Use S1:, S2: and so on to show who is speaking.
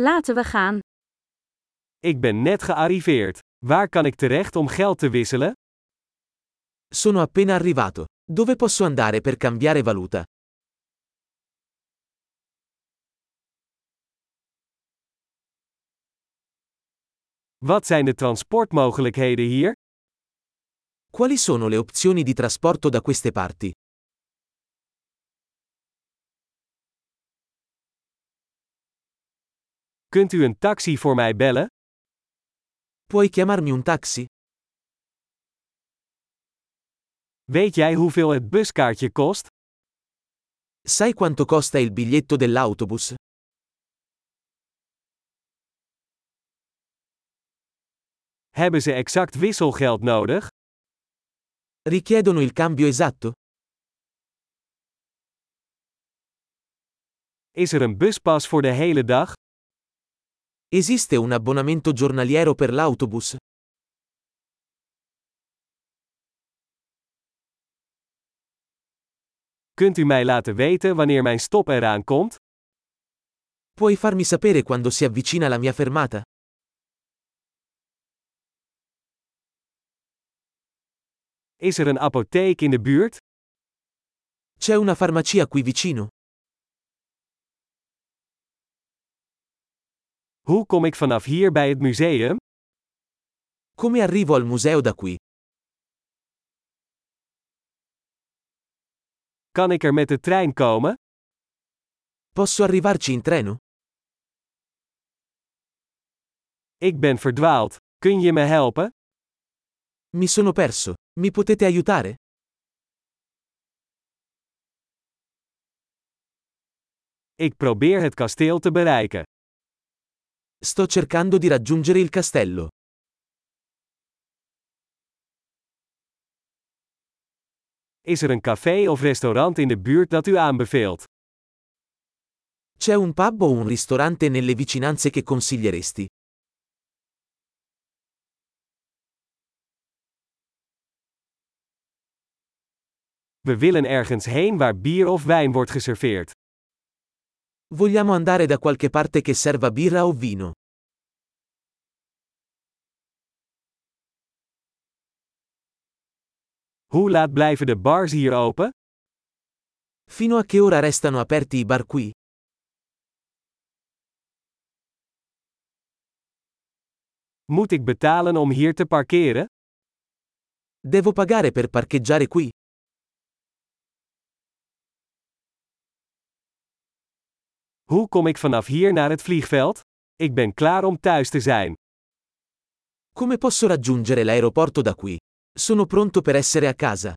S1: Laten we gaan.
S2: Ik ben net gearriveerd. Waar kan ik terecht om geld te wisselen?
S3: Sono appena arrivato. Dove posso andare per cambiare valuta?
S2: Wat zijn de transportmogelijkheden hier?
S3: Quali sono le opzioni di trasporto da queste parti?
S2: Kunt u een taxi voor mij bellen?
S3: Puoi chiamarmi un taxi?
S2: Weet jij hoeveel het buskaartje kost?
S3: Sai quanto costa il biglietto dell'autobus?
S2: Hebben ze exact wisselgeld nodig?
S3: Richiedono il cambio esatto?
S2: Is er een buspas voor de hele dag?
S3: Esiste un abbonamento giornaliero per l'autobus?
S2: Kunt u mij laten weten wanneer mijn stop eraan komt?
S3: Puoi farmi sapere quando si avvicina la mia fermata?
S2: Is er een apotheek in de buurt?
S3: C'è una farmacia qui vicino?
S2: Hoe kom ik vanaf hier bij het museum?
S3: Come arrivo al museo da qui?
S2: Kan ik er met de trein komen?
S3: Posso arrivarci in treno?
S2: Ik ben verdwaald. Kun je me helpen?
S3: Mi sono perso. Mi potete aiutare?
S2: Ik probeer het kasteel te bereiken.
S3: Sto cercando di raggiungere il castello.
S2: Is er een café of restaurant in de buurt dat u aanbeveelt?
S3: C'è un pub o un ristorante nelle vicinanze che consiglieresti?
S2: We willen ergens heen waar bier of wijn wordt geserveerd.
S3: Vogliamo andare da qualche parte che serva birra o vino?
S2: Hoe laat blijven de bars hier open?
S3: Fino a che ora restano aperti i bar qui?
S2: Moet ik betalen om hier te parkeren?
S3: Devo pagare per parcheggiare qui?
S2: Hoe kom ik vanaf hier naar het vliegveld? Ik ben klaar om thuis te zijn.
S3: Come posso raggiungere l'aeroporto da qui? Sono pronto per essere a casa.